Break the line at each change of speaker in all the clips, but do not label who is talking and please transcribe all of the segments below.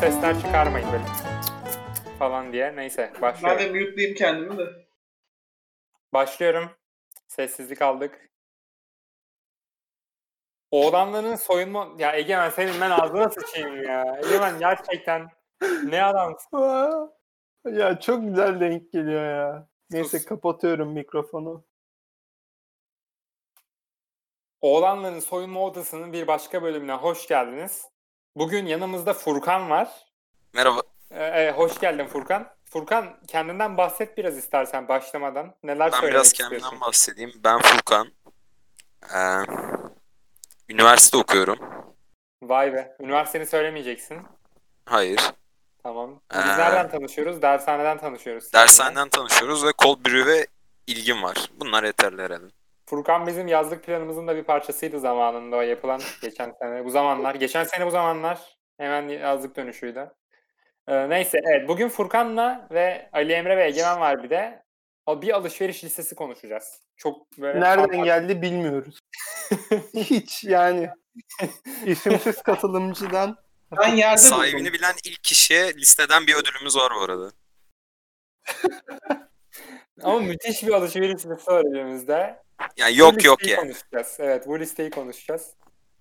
sesler çıkarmayın böyle falan diye. Neyse
Ben de
Şey-
başlıyorum.
mute'layayım kendimi de.
Başlıyorum. Sessizlik aldık. Oğlanların soyunma... Ya Egemen senin ben ağzına sıçayım ya. Egemen gerçekten ne adamsın.
Aa, Ya çok güzel denk geliyor ya. Neyse
Sus.
kapatıyorum mikrofonu.
Oğlanların soyunma odasının bir başka bölümüne hoş geldiniz. Bugün yanımızda Furkan var.
Merhaba.
Ee, e, hoş geldin Furkan. Furkan kendinden bahset biraz istersen başlamadan. Neler
Ben
söylemek
biraz
istiyorsun?
kendimden bahsedeyim. Ben Furkan. Ee, üniversite okuyorum.
Vay be. Üniversiteni söylemeyeceksin.
Hayır.
Tamam. Biz
Ee.
nereden tanışıyoruz? Dershaneden tanışıyoruz. seninle.
Dershaneden tanışıyoruz ve cold brew'e ilgim var. Bunlar yeterli herhalde.
Furkan bizim yazlık planımızın da bir parçasıydı zamanında o yapılan geçen sene bu zamanlar. Geçen sene bu zamanlar hemen yazlık dönüşüydü. Ee, neyse evet bugün Furkan'la ve Ali Emre ve Egemen var bir de. O bir alışveriş listesi konuşacağız. Çok böyle
Nereden
fantastik-
geldi bilmiyoruz. Hiç yani. İsimsiz katılımcıdan
Ben yerde durdum.
Sahibini bilen ilk kişiye listeden bir ödülümüz var bu arada.
Ama müthiş bir alışveriş listesi var elimizde.
Yani
Bu
yok
listeyi
yok yani.
Konuşacağız. Evet bu listeyi konuşacağız.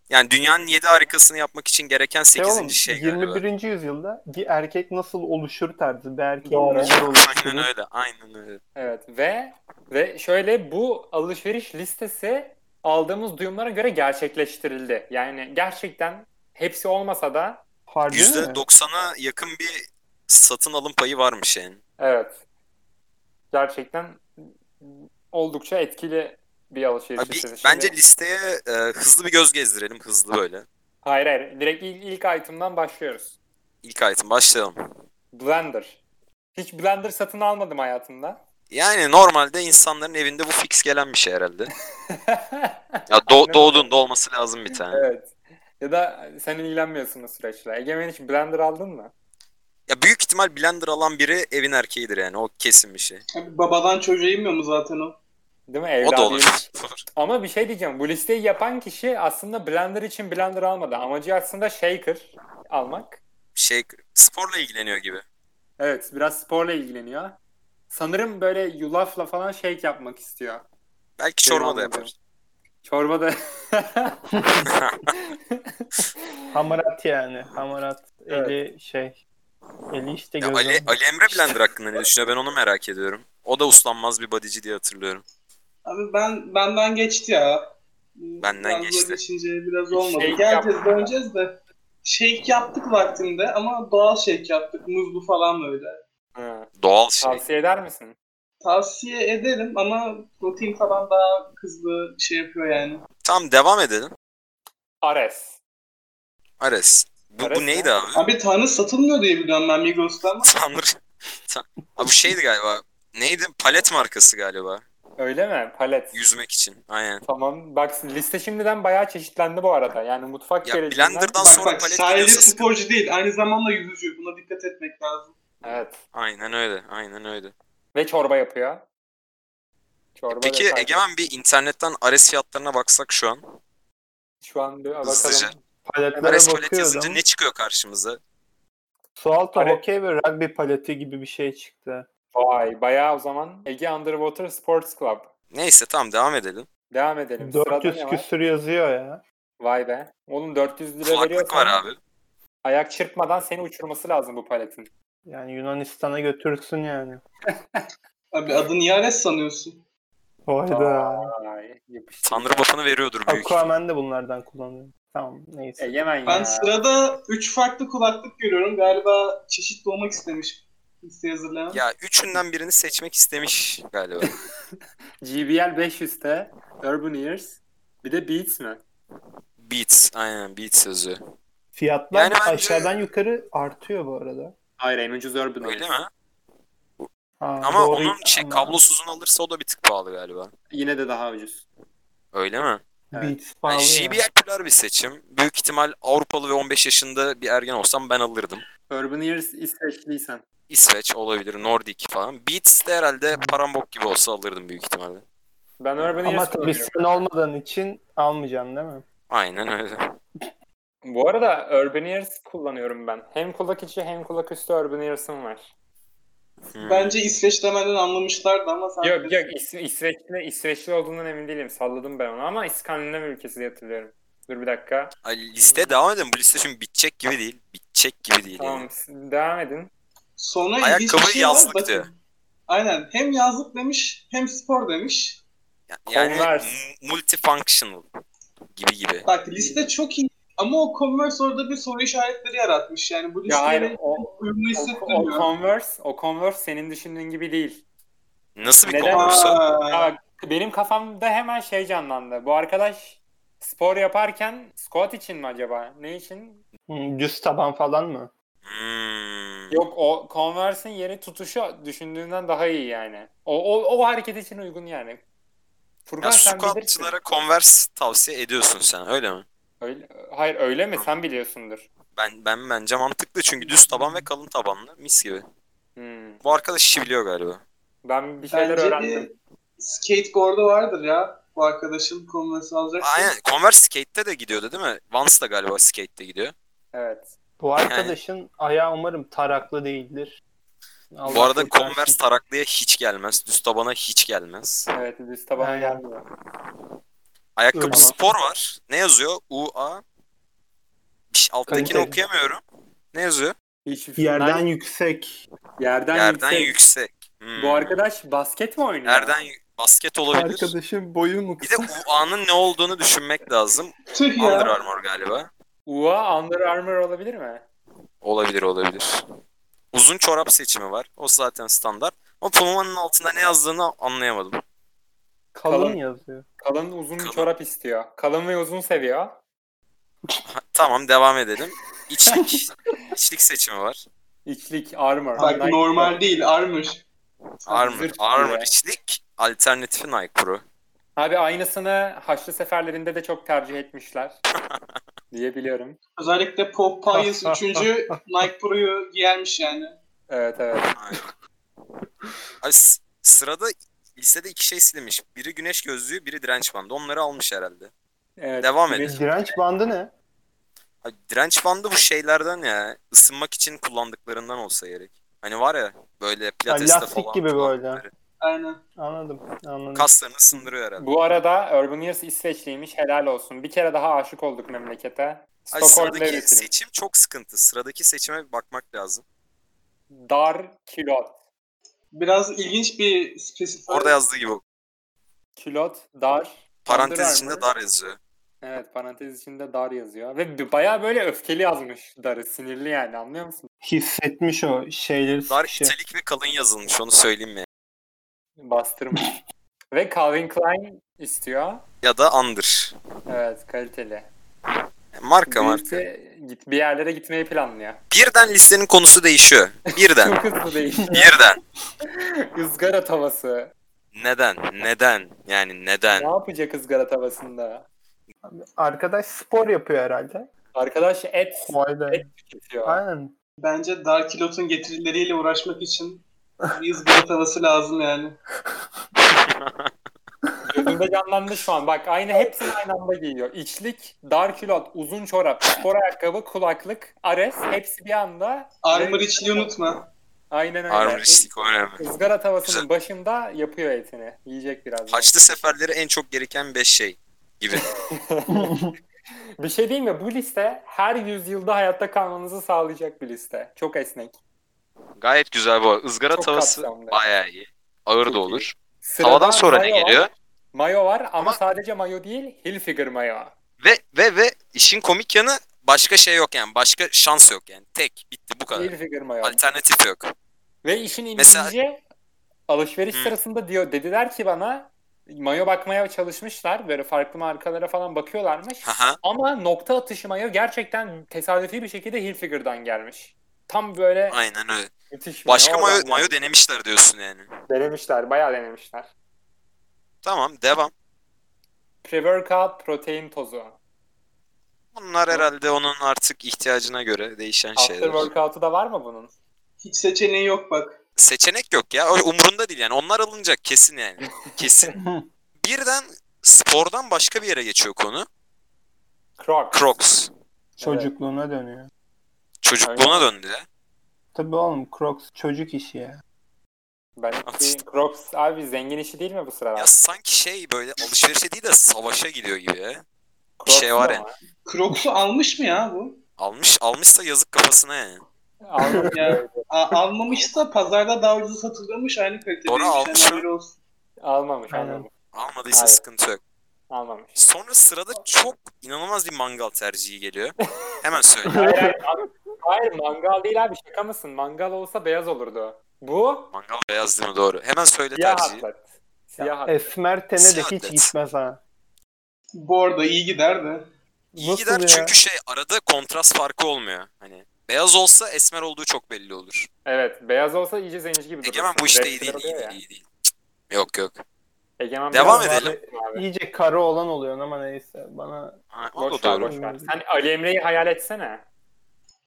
Yani dünyanın 7 harikasını yapmak için gereken
şey
8.
oğlum,
şey galiba.
21. yüzyılda bir erkek nasıl oluşur tarzı bir erkeğin
Doğru.
neler
Aynen
oluşturur.
öyle. Aynen öyle.
Evet ve ve şöyle bu alışveriş listesi aldığımız duyumlara göre gerçekleştirildi. Yani gerçekten hepsi olmasa da
Harbi mi?
%90'a yakın bir satın alım payı varmış yani.
Evet. Gerçekten oldukça etkili bir alışveriş
Abi,
listesi.
bence
Şimdi-
listeye e, hızlı bir göz gezdirelim hızlı böyle.
Hayır hayır. Direkt ilk, ilk item'dan başlıyoruz.
İlk item başlayalım.
Blender. Hiç blender satın almadım hayatımda.
Yani normalde insanların evinde bu fix gelen bir şey herhalde. Ya do- doğduğunda olması lazım bir tane.
evet. Ya da sen ilgilenmiyorsun bu süreçle. Egemen hiç blender aldın mı?
Ya büyük ihtimal blender alan biri evin erkeğidir yani o kesin bir şey.
Abi Hani Babadan çocuğa inmiyor mu zaten o?
Değil mi?
O da
Evladıyım.
olur.
Ama bir şey diyeceğim. Bu listeyi yapan kişi aslında blender için blender almadı. Amacı aslında shaker almak.
şey sporla ilgileniyor gibi.
Evet, biraz sporla ilgileniyor. Sanırım böyle yulafla falan shake yapmak istiyor.
Belki
Benim
çorba da
anladığım.
yapar.
Çorba da
Hamarat yani. Hamarat.
Evet.
Eli şey. Eli işte
Ya
gözüm.
Ali, Ali Emre blender hakkında ne düşünüyor? Ben onu merak ediyorum. O da uslanmaz bir bodyci diye hatırlıyorum.
Abi ben benden geçti ya.
Benden
Biraz da
geçti.
geçince biraz olmadı.
Shake
Geleceğiz
yaptık.
döneceğiz de. Shake yaptık vaktinde ama doğal shake yaptık. Muzlu falan böyle.
Ha,
Doğal şey.
tavsiye eder misin?
Tavsiye ederim ama protein taban daha hızlı şey yapıyor yani.
Tamam devam edelim.
Ares.
Ares. Bu,
Ares
bu neydi
ne?
abi?
Abi tanrı satılmıyor diye biliyorum ben Migros'ta ama.
Tanrı. Tan- Abi bu şeydi galiba. Neydi? Palet markası galiba.
Öyle mi? Palet.
Yüzmek için. Aynen.
Tamam. Bak liste şimdiden bayağı çeşitlendi bu arada. Yani mutfak
Ya
gerecinden-
blender'dan
Bak
sonra
bak
palet
sadece
geliyorsa sıkıntı.
sporcu değil aynı zamanda yüzücü. Buna dikkat etmek lazım.
Evet.
Aynen öyle. Aynen öyle.
Ve çorba yapıyor. Çorba
Peki
detaylı.
Egemen bir internetten Ares fiyatlarına baksak şu an.
Şu an bir
Hızlıca.
bakalım.
Paletlere
Ares palet yazınca
bakıyordum.
ne çıkıyor karşımıza?
Sualtı
Palet-
hokey ve rugby paleti gibi bir şey çıktı.
Vay bayağı o zaman Ege Underwater Sports Club.
Neyse tamam devam edelim.
Devam edelim. Sırada
400
ne var?
küsür yazıyor ya.
Vay be. Oğlum 400 lira
Kulaklık
veriyorsan
var abi.
ayak çırpmadan seni uçurması lazım bu paletin.
Yani Yunanistan'a götürsün yani.
Abi adını Yares sanıyorsun.
Hayda.
Vay, yapıştı.
Tanrı bafanı veriyordur büyük. E,
Aquaman de bunlardan kullanıyor. Tamam neyse.
Egemen
Ben
ya.
sırada 3 farklı kulaklık görüyorum. Galiba çeşitli olmak istemiş. Liste hazırlayan.
Ya üçünden birini seçmek istemiş galiba.
GBL 500'te Urban Ears bir de Beats mi?
Beats. Aynen Beats sözü.
Fiyatlar
Yani bence-
aşağıdan yukarı artıyor bu arada.
Hayır en ucuz Urban Ears.
Öyle mi?
Ha,
Ama
doğru
onun şey
ama
kablosuzunu alırsa o da bir tık pahalı galiba.
Yine de daha ucuz.
Öyle mi?
Evet.
Hani
Beats
Yani
pahalı ya.
JBL Polar bir seçim. Büyük ihtimal Avrupalı ve 15 yaşında bir ergen olsam ben alırdım.
Urban Ears İsveçliysen.
İsveç olabilir, Nordik falan. Beats de herhalde parambok gibi olsa alırdım büyük ihtimalle.
Ben Urban
Ama
Ears
tabii
kullanıyorum.
sen olmadan için almayacaksın değil mi?
Aynen öyle.
Bu arada Urban Ears kullanıyorum ben. Hem kulak içi hem kulak üstü Urban Ears'ım var.
Hmm.
Bence İsveç demeden anlamışlardı ama sen
Yok yok İs- İsveçli, İsveçli olduğundan emin değilim. Salladım ben onu ama İskandinav ülkesi diye hatırlıyorum. Dur bir dakika.
Ay, liste devam edelim. Bu liste şimdi bitecek gibi değil. Bitecek gibi değil. yani.
Tamam siz devam edin.
Sonra
Ayakkabı
ilginç bir şey var,
yazlık
bakın.
diyor.
Aynen. Hem yazlık demiş hem spor demiş.
Yani
Converse.
m- multifunctional gibi gibi.
Bak liste çok iyi ama o Converse orada bir soru işaretleri yaratmış. Yani bu
Ya hayır
listeyle
o,
uyumlu
o, o
hissettirmiyor.
Converse, o Converse senin düşündüğün gibi değil.
Nasıl bir
Neden?
konversa?
Aa,
Ya bak, benim kafamda hemen şey canlandı. Bu arkadaş spor yaparken squat için mi acaba? Ne için?
Hmm, Düz taban falan mı?
Hmm.
Yok o Converse'in yeri tutuşu düşündüğünden daha iyi yani. O, o, o hareket için uygun yani. Furkan
Ya
sen bilirsin.
squatçılara Converse tavsiye ediyorsun sen öyle mi?
Öyle, hayır öyle mi? Sen biliyorsundur.
Ben ben bence mantıklı çünkü düz taban ve kalın tabanlı mis gibi.
Hmm.
Bu arkadaş işi biliyor galiba.
Ben bir şeyler
Bence
öğrendim.
bir skateboard'u vardır ya bu arkadaşın Converse alacak.
Aynen Converse skate'te de gidiyordu değil mi? Vans da galiba skate'te gidiyor.
Evet.
Bu arkadaşın ayağı umarım taraklı değildir. Allah
Bu arada
kurtarsın.
Converse taraklıya hiç gelmez. Düz tabana hiç gelmez.
Evet düz tabana
Aynen.
gelmiyor.
Ayakkabı
Öyle.
spor var. Ne yazıyor? UA. Bir şey- Alttakini
Kalite.
okuyamıyorum. Ne yazıyor?
Hiç-
Yerden
Nereden-
yüksek.
şey- yerden,
Yerden
yüksek.
yüksek. Hmm.
şey, Bu arkadaş basket mi oynuyor?
Yerden yü- basket olabilir.
Arkadaşın boyu mu
Bir de UA'nın ne olduğunu düşünmek lazım.
Tüh ya.
Under Armour galiba.
Ua Under Armour olabilir mi?
Olabilir olabilir. Uzun çorap seçimi var. O zaten standart. Ama Puma'nın altında ne yazdığını anlayamadım.
kalın,
kalın.
yazıyor.
Kalın uzun
Kalın.
çorap istiyor. Kalın ve uzun seviyor.
Ha, tamam devam edelim. İçlik, içlik seçimi var.
İçlik armor.
Bak
Nike-
normal değil armor.
Armor.
zırt
Armor
ya.
içlik. Alternatifi Nike Pro.
Abi aynısını Haçlı seferlerinde de çok tercih etmişler. diye biliyorum.
Özellikle Pop Pius 3. Nike Pro'yu giyermiş yani.
Evet evet.
Ay, s- sırada listede iki şey silinmiş. Biri güneş gözlüğü, biri direnç bandı. Onları almış herhalde.
evet.
Devam
Güneş-
edelim.
Direnç bandı ne?
Ay, direnç bandı bu şeylerden ya. Isınmak için kullandıklarından olsa gerek. Hani var ya böyle pilateste
lastik
falan.
gibi böyle.
kullandıkları.
Aynen.
Anladım. Anladım.
Kaslarını sındırıyor herhalde.
Bu arada Urban Years İsveçliymiş. Helal olsun. Bir kere daha aşık olduk memlekete.
Ay,
Stockholm'da
sıradaki
üretim.
seçim çok sıkıntı. Sıradaki seçime bir bakmak lazım.
Dar kilot.
Biraz ilginç bir spesifik.
Orada yazdığı gibi
Kilot, dar.
parantez
Under
içinde
Armour.
dar yazıyor.
Evet parantez içinde dar yazıyor. Ve b- bayağı böyle öfkeli yazmış darı. Sinirli yani anlıyor musun?
Hissetmiş o şeyleri.
Dar
şey.
italik ve kalın yazılmış onu söyleyeyim mi?
Bastırmış. Ve Calvin Klein istiyor.
Ya da under.
Evet kaliteli.
Marka marka.
Birisi git, bir yerlere gitmeyi planlıyor.
Birden listenin konusu değişiyor. Birden.
Çok hızlı değişti.
Birden.
Izgara tavası.
Neden? Neden? Yani neden?
Ne yapacak ızgara tavasında?
Arkadaş spor yapıyor herhalde.
Arkadaş et
Vay be.
Et tüketiyor.
Aynen.
Bence Dark Hilot'un getirileriyle uğraşmak için bir ızgara tavası lazım yani.
Gözümde canlandı şu an. Bak aynı hepsini aynı anda giyiyor. İçlik, dar külot, uzun çorap, spor ayakkabı, kulaklık, ares hepsi bir anda.
Armor
Ve-
içliği unutma.
Aynen öyle.
Armor içlik o önemli.
Izgara tavasının
Güzel.
başında yapıyor etini. Yiyecek biraz.
Haçlı seferleri en çok gereken 5 şey gibi.
Bir şey değil mi? Bu liste her yüzyılda hayatta kalmanızı sağlayacak bir liste. Çok esnek.
Gayet güzel bu. Izgara
Çok
tavası
kapsamlı.
bayağı iyi. Ağır
Çok
da
iyi.
olur.
Sırada
Havadan sonra ne
mayo var.
geliyor?
Mayo var ama,
Ama-
sadece mayo değil, Hilfiger mayo.
Ve ve ve işin komik yanı başka şey yok yani. Başka şans yok yani. Tek bitti bu kadar.
Hilfiger mayo.
Alternatif yok.
Ve işin ilginci
Mesela-
alışveriş
Hı.
sırasında diyor dediler ki bana mayo bakmaya çalışmışlar. Böyle farklı markalara falan bakıyorlarmış.
Haha.
ama nokta atışı mayo gerçekten tesadüfi bir şekilde Hilfiger'dan gelmiş. Tam böyle
Aynen öyle.
müthiş bir
Başka
oradan
mayo,
gelmiş.
mayo denemişler diyorsun yani.
Denemişler, bayağı denemişler.
Tamam devam.
Pre-workout protein tozu.
Bunlar herhalde onun artık ihtiyacına göre değişen
After
şeyler.
workout'u da var mı bunun?
Hiç seçeneği yok bak.
Seçenek yok ya. O umurunda değil yani. Onlar alınacak kesin yani. Kesin. Birden spordan başka bir yere geçiyor konu.
Crocs.
Crocs.
Çocukluğuna dönüyor.
Çocukluğuna döndü ya.
Tabii oğlum Crocs çocuk işi ya.
Belki Crocs abi zengin işi değil mi bu
Ya
sıralar?
sanki şey böyle alışverişe değil de savaşa gidiyor gibi ya. şey var ya.
ama.
Crocs'u almış mı ya bu?
Almış almışsa yazık kafasına yani.
Almadı.
Ya, a- almamışsa pazarda daha ucuza satılıyormuş aynı kalitede.
Doğru, almış mı?
olsun.
Almamış
Aynen.
almamış.
Almadıysa
Hayır.
sıkıntı yok.
Almamış.
Sonra sırada çok inanılmaz bir mangal tercihi geliyor. Hemen söyle.
Hayır, hayır, abi. hayır mangal değil abi şaka mısın? Mangal olsa beyaz olurdu. Bu
Mangal beyaz değil mi? Doğru. Hemen söyle
siyah
tercihi.
atlet. Siyah
ya
atlet.
esmer tene de hiç
Siyaset.
gitmez ha.
Bu arada iyi gider de.
İyi gider
ya?
çünkü şey arada kontrast farkı olmuyor. Hani beyaz olsa esmer olduğu çok belli olur.
Evet beyaz olsa iyice zenci gibi durursun.
Egemen bu işte iyi
Renkler
değil, iyi
oluyor
değil,
ya.
iyi değil. Cık, Yok yok.
Egemen
Devam
beyaz
edelim.
olsun abi.
İyice karı olan oluyor ama neyse. Bana
Ha, o
Boş
da
ver,
doğru.
boş ver. Sen Ali Emre'yi hayal etsene.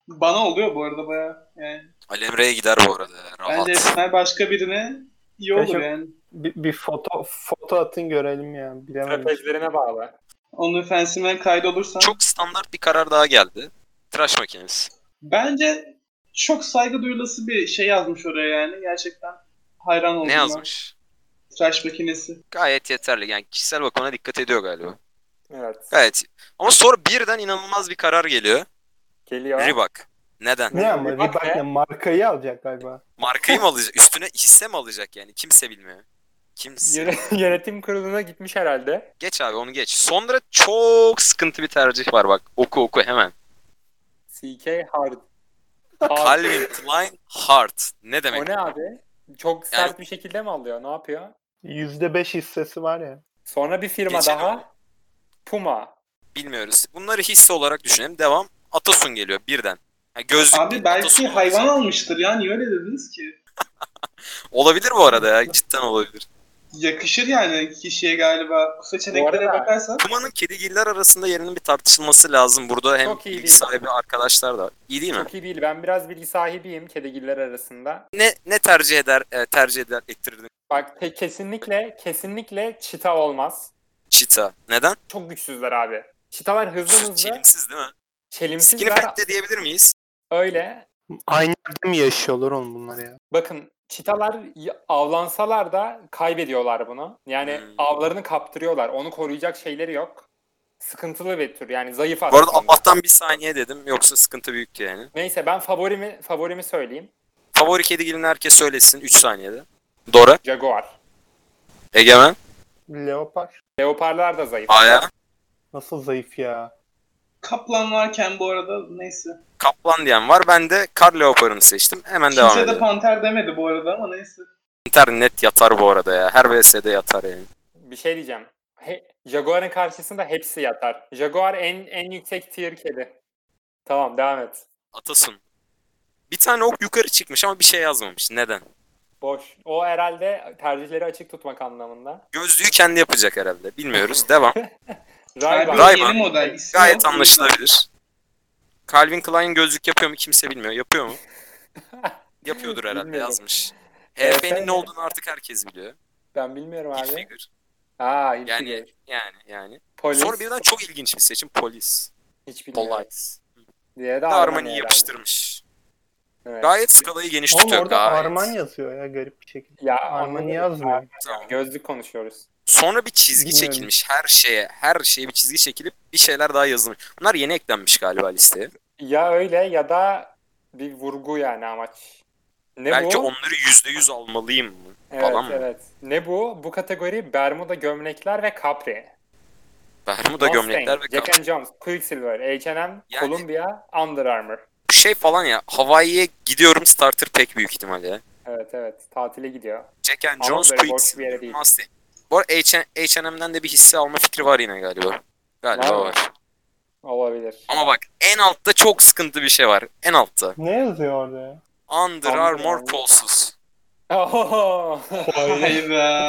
Bana oluyor bu arada baya. Yani
Alemre'ye gider bu arada. Rahat.
bence esmer başka birine iyi olur
Yaşa-
yani.
bir, bir foto foto atın görelim ya. Bilemedim.
Trapezlerine bağlı.
Onun fensimen kaydolursan.
Çok standart bir karar daha geldi. Tıraş makinesi.
Bence çok saygı duyulası bir şey yazmış oraya yani. Gerçekten hayran oldum.
Ne
ben.
yazmış?
Tıraş makinesi.
Gayet yeterli. Yani kişisel bakımına dikkat ediyor galiba.
Evet.
Gayet. Ama sonra birden inanılmaz bir karar geliyor.
Geliyor.
Reebok. Neden?
Ne ama
Reebok
Reebok
ne?
ne? Markayı alacak galiba.
Markayı mı alacak? Üstüne hisse mi alacak yani? Kimse bilmiyor. Kimse.
Yöne- Yönetim kuruluna gitmiş herhalde.
Geç abi onu geç. Sonra çok sıkıntı bir tercih var bak. Oku oku hemen.
CK Hard. Hard.
Calvin Klein Hart. Ne demek?
O ne abi? Çok sert bir şekilde mi alıyor? Ne yapıyor?
%5 hissesi var ya.
Sonra bir firma
Geçen
daha.
abi.
Puma.
Bilmiyoruz. Bunları hisse olarak düşünelim. Devam. Atasun geliyor birden. Yani gözlük değil,
Abi belki
Atasun
hayvan
olsa-
almıştır ya. Niye öyle dediniz ki?
Olabilir bu arada ya. Cidden olabilir.
Yakışır yani kişiye galiba. Bu seçeneklere
Bu arada-
bakarsan.
Kuma'nın kedigiller arasında yerinin bir tartışılması lazım. Burada hem
Çok iyi
bilgi
değil.
sahibi arkadaşlar da. İyi değil mi?
Çok iyi değil. Ben biraz bilgi sahibiyim kedigiller arasında.
Ne ne tercih eder e, tercih eder ettirirdin?
Bak te- kesinlikle kesinlikle çita olmaz.
Çita. Neden?
Çok güçsüzler abi. Çitalar hızlı hızlı.
Çelimsiz değil mi? Skinny
Çelimsizler.
Fat de diyebilir miyiz?
Öyle.
Aynı yerde mi yaşıyorlar oğlum bunlar ya?
Bakın çitalar y- avlansalar da kaybediyorlar bunu. Yani
Hmm.
avlarını kaptırıyorlar. Onu koruyacak şeyleri yok. Sıkıntılı bir tür. Yani zayıf
Bu arada
aslında.
Allah'tan bir saniye dedim. Yoksa sıkıntı büyüktü yani.
Neyse ben favorimi favorimi söyleyeyim.
Favori kedigilini herkes söylesin 3 saniyede. Dora.
Jaguar.
Egemen.
Leopar.
Leoparlar da zayıf.
Aya.
Nasıl zayıf ya?
Kaplan varken bu arada neyse.
Kaplan diyen var. Ben de kar leoparını seçtim. Hemen devam
Kimse de
edelim.
panter demedi bu arada ama neyse.
İnternet yatar bu arada ya. Her VS'de yatar yani.
Bir şey diyeceğim. He- Jaguar'ın karşısında hepsi yatar. Jaguar en en yüksek tier kedi. Tamam devam et.
Atasun. Bir tane ok yukarı çıkmış ama bir şey yazmamış. Neden?
Boş. O herhalde tercihleri açık tutmak anlamında.
Gözlüğü kendi yapacak herhalde. Bilmiyoruz. Devam.
Rayban.
Ray-
Harbi yeni
Rayman.
model. ismi
Gayet
yok.
anlaşılabilir. Calvin Klein gözlük yapıyor mu kimse bilmiyor. Yapıyor mu? Yapıyordur herhalde
Bilmiyorum.
yazmış.
Evet,
HF'nin
ben-
ne olduğunu artık herkes biliyor.
Ben bilmiyorum abi.
Hilfiger.
Aa, hiç
şey- Yani
bilmiyorum.
yani yani.
Polis.
Sonra birden çok ilginç bir seçim polis.
hiç bilmiyorum.
Polite.
Diye de Armani
Armani'yi
herhalde.
yapıştırmış.
Evet.
Gayet skalayı geniş
Oğlum
tutuyor.
orada
gayet.
Arman yazıyor ya garip bir şekilde.
Ya
Arman
anladım.
yazmıyor.
Tamam.
Gözlük konuşuyoruz.
Sonra bir çizgi
Bilmiyorum.
çekilmiş her şeye. Her şeye bir çizgi çekilip bir şeyler daha yazılmış. Bunlar yeni eklenmiş galiba listeye.
Ya öyle ya da bir vurgu yani amaç. Ne
Belki
bu?
onları %100 almalıyım mı?
Evet,
falan mı?
evet. Ne bu? Bu kategori Bermuda gömlekler ve Capri.
Bermuda
Mustang,
gömlekler ve
Jack
kap-
and Jones, Quicksilver, H&M,
Yani-
Columbia, Under Armour.
şey falan ya. Hawaii'ye gidiyorum starter pek büyük ihtimalle. ya.
Evet evet. Tatile gidiyor.
Jack and
Ama
Jones
böyle boş
Quick,
bir yere değil.
Mustang. Bu arada H- H&M'den de bir hisse alma fikri var yine galiba.
Var
Galiba
mı?
var.
Olabilir.
Ama bak en altta çok sıkıntı bir şey var. En altta.
Ne yazıyor orada ya?
Under
Under
Armour
Armour.
kolsuz.
Oho!
Hayda.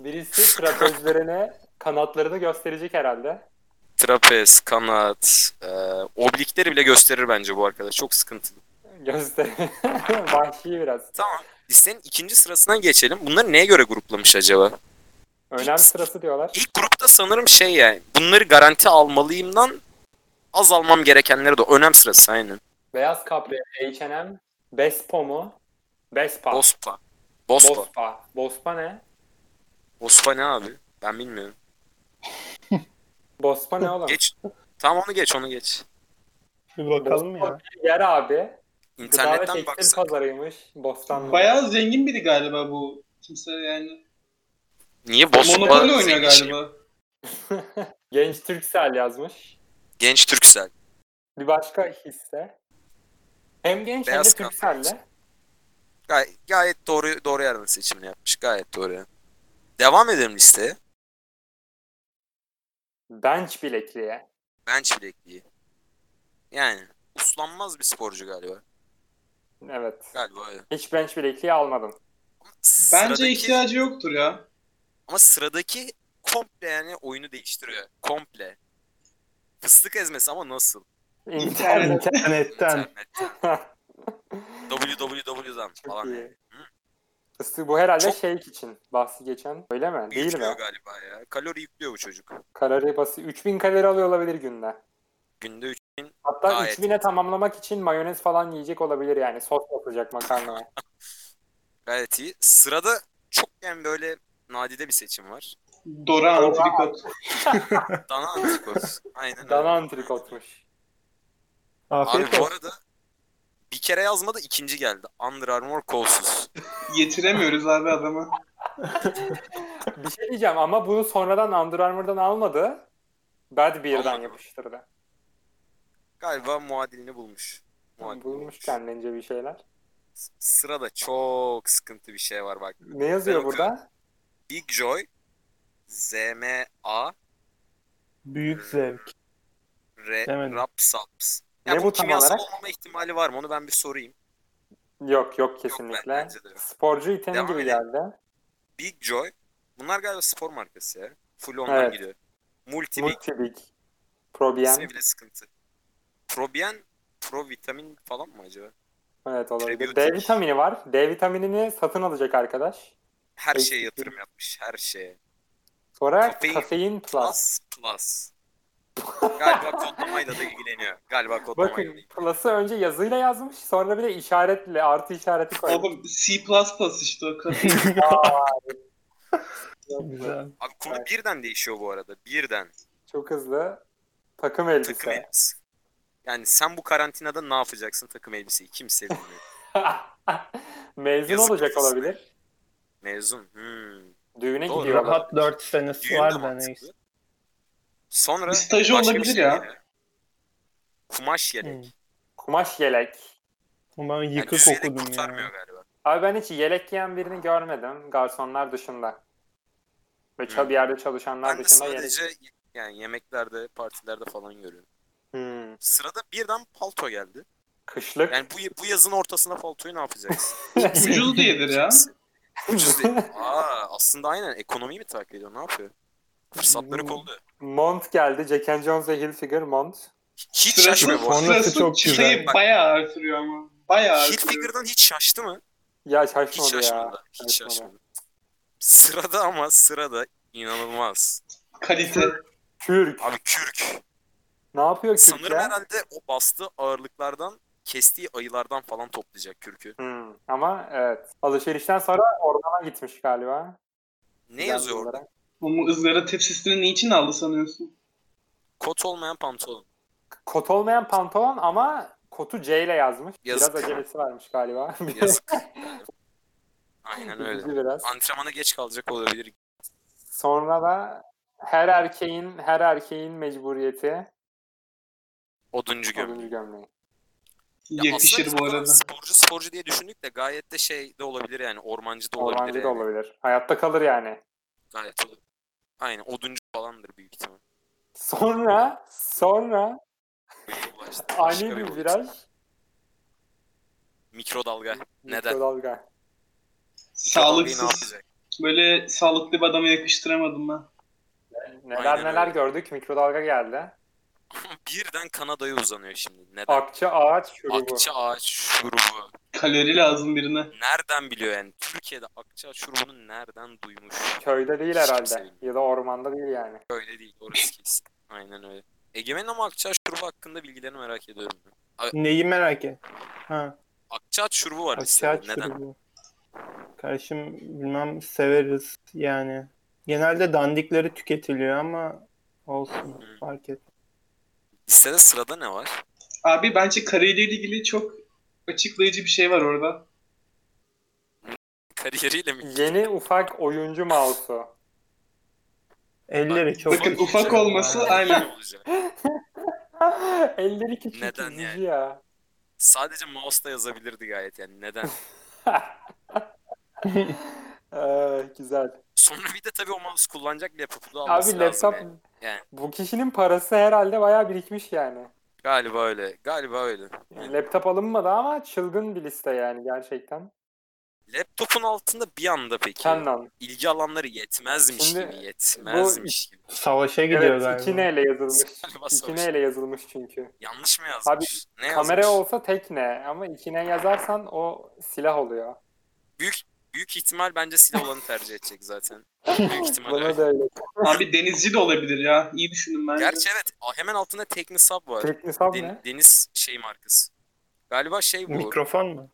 Birisi trapezlerine kanatlarını gösterecek herhalde.
Trapez, kanat, e, oblikleri bile gösterir bence bu arkadaş. Çok sıkıntılı.
Göster. Vahşi biraz.
Tamam. Listenin ikinci sırasına geçelim. Bunları neye göre gruplamış acaba?
Önem sırası diyorlar.
İlk grupta sanırım şey yani bunları garanti almalıyımdan az almam gerekenleri de önem sırası aynen.
Beyaz kapri, H&M, Bespo mu? Bespa.
Bospa. Bospa.
Bospa. Bospa ne?
Bospa ne abi? Ben bilmiyorum.
Bospa ne oğlum?
Geç. Tamam onu geç onu geç.
Bir bakalım ya.
Yer abi. Gıda ve
İnternetten
tekstil
baksak.
pazarıymış. Bostanlı.
Bayağı zengin biri galiba bu kimse yani.
Niye Bospa?
Monopoly oynuyor
zengin şey?
galiba.
Genç Türksel yazmış.
Genç Türksel.
Bir başka hisse. Hem genç
Beyaz
hem de
kapri.
Türksel'le.
Gay- gayet doğru doğru yerden seçimini yapmış. Gayet doğru. Devam edelim listeye.
Bench bilekliğe.
Bench bilekliği. Yani uslanmaz bir sporcu galiba.
Evet.
Galiba öyle.
Hiç bench bilekliği almadım.
Bence
Sıradaki-
ihtiyacı yoktur ya.
Ama sıradaki komple yani oyunu değiştiriyor. Komple. Fıstık ezmesi ama nasıl?
İnternet.
İnternetten.
İnternetten. www'dan falan. yani.
Fıstığı bu herhalde
Çok-
şey için bahsi geçen. Öyle mi? Değil
Yüklüyor
mi?
galiba ya. Kalori yüklüyor bu çocuk.
Kalori bası 3000 kalori alıyor olabilir günde.
Günde 3000
Hatta
Gayet.
3000'e tamamlamak için mayonez falan yiyecek olabilir yani. Sos yapacak makarnaya.
gayet iyi. Sırada çok yani böyle nadide bir seçim var.
Dora Antrikot.
Dana Antikos. Aynen öyle.
Dana antrikotmuş.
Afiyet
Abi bu
olsun.
arada bir kere yazmadı ikinci geldi. Under Armour kolsuz.
Yetiremiyoruz abi adamı.
Bir şey diyeceğim ama bunu sonradan Under Armour'dan almadı. Bad Beer'dan
Almadı.
yapıştırdı.
Galiba muadilini bulmuş. Muadilini
Bulmuş kendince bir şeyler.
S- Sırada çok sıkıntı bir şey var bak.
Ne yazıyor
Ben
burada?
Big Joy, ZMA,
Büyük zevk.
Re,
Demedim.
Rapsaps. Ya
Ne
bu,
bu tam
kimyasal
olarak?
olmama ihtimali var mı? Onu ben bir sorayım.
Yok yok
Yok,
kesinlikle.
ben- bence de yok.
Sporcu iteni
Devam
gibi
edelim.
geldi.
Big Joy. Bunlar galiba spor markası ya. Full ondan
Evet.
gidiyor. Multi Big.
Multibig. Probien.
ismi bile sıkıntı. Probien, pro vitamin falan mı acaba?
Evet olabilir. D
Prebiotik.
vitamini var. D vitaminini satın alacak arkadaş.
Her
Eksik
şeye
değil.
yatırım yapmış. Her şeye.
Sonra
Kafein-
kafein, plus.
Plus, plus. Galiba kodlamayla da ilgileniyor. Galiba kodlamayla da
Bakın
ilgileniyor.
plus'ı önce yazıyla yazmış sonra bir de işaretle artı işareti koymuş.
Oğlum C++ işte o kadar.
Güzel.
Abi konu birden değişiyor bu arada. Birden.
Çok hızlı. Takım elbise.
Takım elbise. Yani sen bu karantinada ne yapacaksın takım elbiseyi? Kimse bilmiyor.
Mezun
Yazık
olacak
kafasına.
olabilir.
Mezun. Hmm.
Düğüne
Doğru.
gidiyor.
Rahat 4 senesi
Düğün de
var da
mantıklı.
neyse.
Sonra
Bir stajı
başka
olabilir
şey
ya.
geliyor. Kumaş yelek.
Hmm.
Kumaş yelek.
Ama ben
Yani
yıkık
düz yelek
okudum
kurtarmıyor
ya.
galiba.
Abi ben hiç yelek giyen birini görmedim garsonlar dışında. Ve
Hmm.
ça- bir yerde çalışanlar
Ben de
dışında yelek.
sadece yani yemeklerde, partilerde falan görüyorum.
Hmm.
Sırada birden palto geldi.
Kışlık.
Yani bu, bu yazın ortasına paltoyu ne yapacaksın?
Ucuz diyedir ya.
Ucuz değil. Aa, aslında aynen ekonomiyi mi takip ediyor? Ne yapıyor? Fırsatları
Hmm.
kolluyor.
Mont geldi. Jack and Jones ve Hilfiger mont.
Hiç
Sırası,
şaşmıyor bu arada.
Sonrası
sırası
çok güzel.
çıtayı bayağı artırıyor ama. Bayağı artırıyor.
Hilfiger'dan hiç şaştı mı?
Ya
Hiç
şaşmadı ya.
şaşmadı. Hiç
Şaşmadı.
şaşmadı. Sırada ama sırada inanılmaz.
Kalite.
Kürk.
Abi kürk.
Ne yapıyor kürk
Sanırım
ya?
herhalde o bastığı ağırlıklardan kestiği ayılardan falan toplayacak kürkü.
Hmm. Ama evet. Alışverişten sonra ormana gitmiş galiba.
Ne yazıyor orada?
Olarak.
Ama ızgara tepsisini niçin aldı sanıyorsun?
Kot olmayan pantolon.
Kot olmayan pantolon ama kotu C ile yazmış.
Yazık.
Biraz acelesi varmış galiba.
Yazık. Aynen öyle.
Üzücü biraz.
Antrenmana geç kalacak olabilir.
Sonra da her erkeğin her erkeğin mecburiyeti
Oduncu gömleği.
oduncu gömleği.
Ya
Yakışır
aslında
bu
biz
arada.
Sporcu sporcu diye düşündük de gayet de şey de olabilir yani ormancı da olabilir.
Ormancı da
yani.
olabilir. Hayatta kalır yani.
Gayet olabilir. Aynen oduncu falandır büyük ihtimal.
Sonra sonra
Ulaştı. Başka
ani bir
yol.
viraj
Mikrodalga. Neden?
mikrodalga.
Mikrodalgayı ne
Sağlıksız.
yapacak?
Böyle sağlıklı bir adama yakıştıramadım ben.
Neler
Aynen
neler
öyle.
gördük mikrodalga geldi.
Birden Kanada'ya uzanıyor şimdi. Neden?
Akça ağaç şurubu.
Akça ağaç şurubu.
Kalori lazım birine.
Nereden biliyor yani? Türkiye'de akça ağaç şurubunu nereden duymuş?
Köyde değil
Hiç kimse
herhalde.
bilmiyor.
Ya da ormanda değil yani.
Öyle değil orası kesin. Aynen öyle. Egemen ama Akçaa şurubu hakkında bilgilerini merak ediyorum.
Neyi merak et. Ha.
Akçaa şurubu var
Akçaat
mesela. Neden?
şurubu. Kardeşim bilmem severiz yani. Genelde dandikleri tüketiliyor ama olsun
Hı.
fark et.
Listede sırada ne var?
Abi bence kariyeriyle ilgili çok açıklayıcı bir şey var orada.
Kariyeriyle mi?
Yeni ufak oyuncu mouse'u.
Elleri çok
Bakın
küçük.
ufak olması aynen.
Olacak.
52 küçük
Neden
üzücü
yani?
ya.
Sadece mouse'da yazabilirdi gayet yani neden?
Ee, güzel.
Sonra bir de tabii o mouse kullanacak laptopu da alması
Abi
lazım.
laptop
yani. Yani.
bu kişinin parası herhalde bayağı birikmiş yani.
Galiba öyle. Galiba öyle.
yani. Laptop alınmadı ama çılgın bir liste yani gerçekten.
Laptopun altında bir anda peki
Canon.
ilgi alanları yetmezmiş
Şimdi
gibi yetmezmiş gibi.
Savaşa gidiyor
Evet,
galiba.
ikine ile yazılmış.
Galiba
İkine
sonuç-
ile yazılmış çünkü.
Yanlış mı yazmış? ne yazmış?
Kamera olsa tekne ama ikine yazarsan o silah oluyor.
Büyük büyük ihtimal bence silah olanı tercih edecek zaten. Büyük ihtimal.
Bana
öyle.
da öyle.
Abi denizci de olabilir ya. İyi düşündüm bence.
Gerçi evet a- hemen altında Teknisab var.
Teknisab
Den-
ne?
Deniz şey markası. Galiba şey bu.
Mikrofon mu?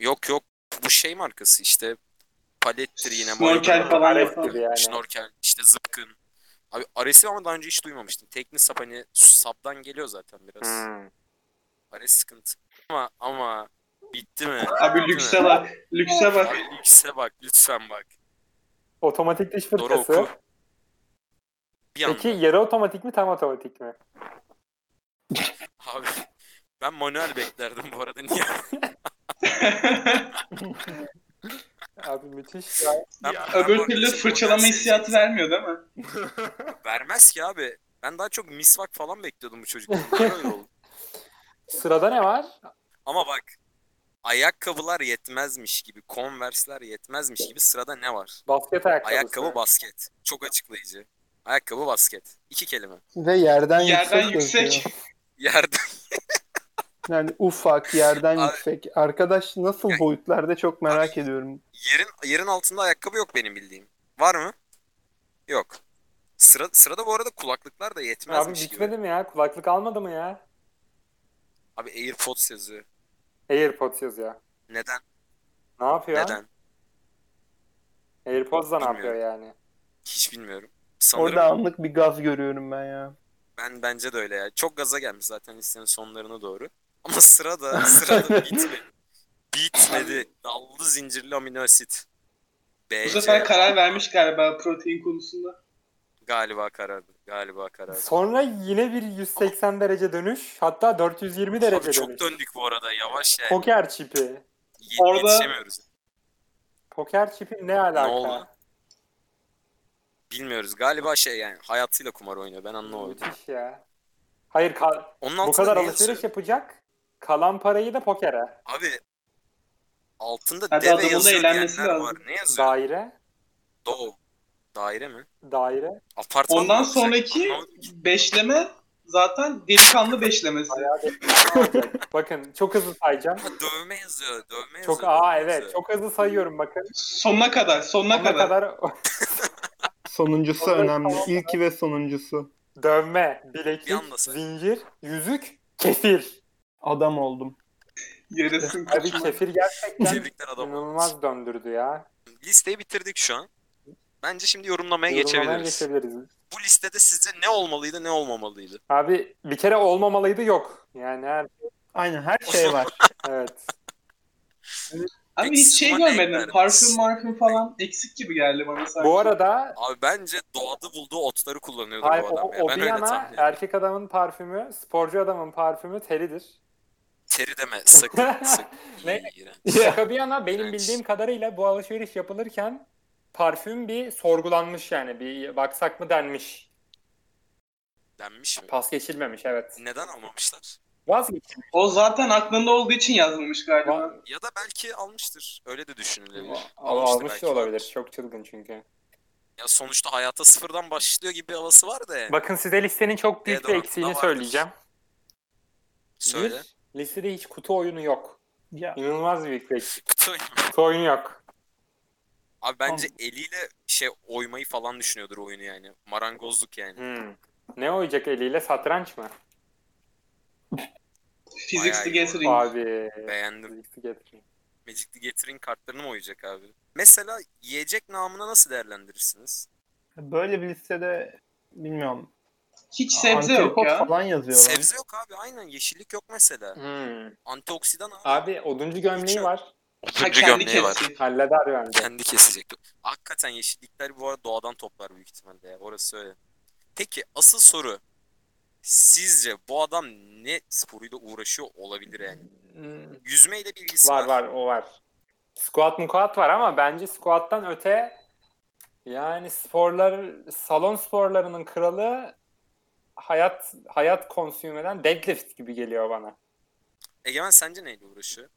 Yok yok bu şey markası işte palettir yine.
Snorkel
marka.
falan
Palettir
yapalım.
yani.
Şnorkel işte zıpkın. Abi Ares'i ama daha önce hiç duymamıştım. Teknisab hani sapdan geliyor zaten biraz.
Hmm.
Ares Hani sıkıntı. Ama ama bitti mi?
Abi
Bitti
lükse
mi?
bak. Lükse bak.
Abi lükse bak lütfen bak.
Otomatik diş
Doğru
fırçası.
oku. Bir anda.
Peki yarı otomatik mi tam otomatik mi?
Abi ben manuel beklerdim bu arada. Niye?
Abi müthiş ya.
Ben, ben bu
Öbür
arada
türlü
şey,
fırçalama
manuel
hissiyatı vermiyor değil mi?
seçim- Vermez ki abi. Ben daha çok misvak falan bekliyordum bu çocuklardan. Öyle oldu.
Sırada ne var?
Ama bak ayakkabılar yetmezmiş gibi, konversler yetmezmiş gibi sırada ne var?
Basket ayakkabısı.
Ayakkabı basket. Çok açıklayıcı. Ayakkabı basket. İki kelime.
Ve yerden,
Yerden
yüksek.
yüksek.
gözüküyor.
Yerde
Yani ufak, yerden
Abi-
yüksek. Arkadaş nasıl boyutlarda çok merak ediyorum.
yerin yerin altında ayakkabı yok benim bildiğim. Var mı? Yok. Sıra, sırada bu arada kulaklıklar da
Abi
yetmezmiş gibi.
bitmedi mi ya? Kulaklık almadı mı ya?
Abi AirPods yazıyor.
AirPods yazıyor.
Neden?
Ne yapıyor?
Neden?
AirPods da ne
Bilmiyorum.
yapıyor yani?
Hiç bilmiyorum. Sanırım
Orada anlık bir gaz görüyorum ben ya.
ben bence de öyle ya. Çok gaza gelmiş zaten listenin sonlarına doğru. Ama sırada sırada bitmedi. Bitmedi. Dallı zincirli amino asit.
Bu
BC
sefer karar vermiş galiba protein konusunda.
galiba karardı. Galiba karardı.
Sonra yine bir 180 derece dönüş. Hatta 420 derece
Abi çok
dönüş.
döndük bu arada yavaş yani.
Poker çipi.
Yet-
Orada-
Yetişemiyoruz.
Poker çipi ne alaka?
oldu? Bilmiyoruz. Galiba şey yani hayatıyla kumar oynuyor. Ben anlamadım.
Müthiş ya. Hayır kal-
Onun
bu
altında
kadar
ne
alışveriş
yazıyor?
yapacak. Kalan parayı da pokere.
Abi altında
Hadi
deve
adamın da
yazıyor
eğlenmesi
diyenler
lazım.
var. Ne yazıyor?
Daire.
Doğu. Daire mi?
Daire.
Apartman mı
Ondan
olacak?
sonraki
Anlamadım.
beşleme zaten delikanlı beşlemesi.
Bakın çok hızlı sayacağım.
Ha, dövme yazıyor. Dövme yazıyor.
Çok aa
dövme
evet
yazıyor.
çok hızlı sayıyorum bakın.
Sonuna kadar, sonuna
Ona
kadar.
kadar
Sonuncusu
Orada-
önemli. İlki ve sonuncusu.
dövme,
Bir anda
bileklik,
say.
zincir, yüzük, kefir.
Adam oldum.
Abi
Yarasın kaçma.
kefir gerçekten
Tebrikler adam.
inanılmaz döndürdü ya.
Listeyi bitirdik şu an. Bence şimdi yorumlamaya
Yorumlamaya
geçebiliriz.
geçebiliriz.
Bu listede sizce ne olmalıydı ne olmamalıydı?
Abi bir kere olmamalıydı yok. Yani her
Aynen her şey var.
evet.
Abi
Eksik
hiç şey
madde
görmedim.
eklerim.
Parfüm marfüm falan eksik gibi geldi bana sanki.
Bu arada
Abi bence doğada bulduğu otları kullanıyordur
hayır,
bu
o,
adam. ya.
o
ben
bir
öyle tahmin
yana er-
ediyorum.
erkek adamın parfümü, sporcu adamın parfümü teridir.
Teri deme sakın sakın.
Ne?
İğrenç.
Şaka bir yana benim
İğrenç.
bildiğim kadarıyla bu alışveriş yapılırken parfüm bir sorgulanmış yani bir baksak mı denmiş.
Denmiş mi?
Pas geçilmemiş evet.
Neden almamışlar?
Vazgeçilmiş.
O zaten aklında olduğu için yazılmış galiba.
Ya da belki almıştır. Öyle de düşünülebilir. Almıştır
Almış
belki.
da olabilir. Çok çılgın çünkü.
Ya sonuçta hayata sıfırdan başlıyor gibi bir havası var da yani.
Bakın size listenin çok büyük bir
Deodorant da
eksiğini
vardır.
söyleyeceğim.
Söyle.
Bir, listede hiç kutu oyunu yok.
ya
İnanılmaz büyük bir eksik.
Kutu oyunu.
Kutu oyunu yok.
Abi bence eliyle şey oymayı falan düşünüyordur oyunu yani. Marangozluk yani.
Hmm. Ne oynayacak eliyle? Satranç mı?
Physics the
iyi
Gathering.
Abi.
Beğendim.
Zixi getireyim.
Magic the Gathering kartlarını mı oyacak abi? Mesela yiyecek namına nasıl değerlendirirsiniz?
Böyle bir listede bilmiyorum.
Hiç sebze yok
antrikot
ya.
falan yazıyorlar.
Sebze yok abi aynen yeşillik yok mesela.
Hmm.
Antioksidan abi.
Abi oduncu gömleği
Hiç-
var.
Ha,
Türlü
kendi
gömleği var.
kesecek.
Halleder bence.
Kendi kesecek. Hakikaten yeşillikler bu arada doğadan toplar büyük ihtimalle ya. Orası öyle. Peki asıl soru. Sizce bu adam ne sporuyla uğraşıyor olabilir yani?
Hmm.
Yüzmeyle bir ilgisi
Var var o var. Squat mukat var ama bence squat'tan öte yani sporlar salon sporlarının kralı hayat hayat konsümü eden deadlift gibi geliyor bana.
Egemen sence neyle uğraşıyor?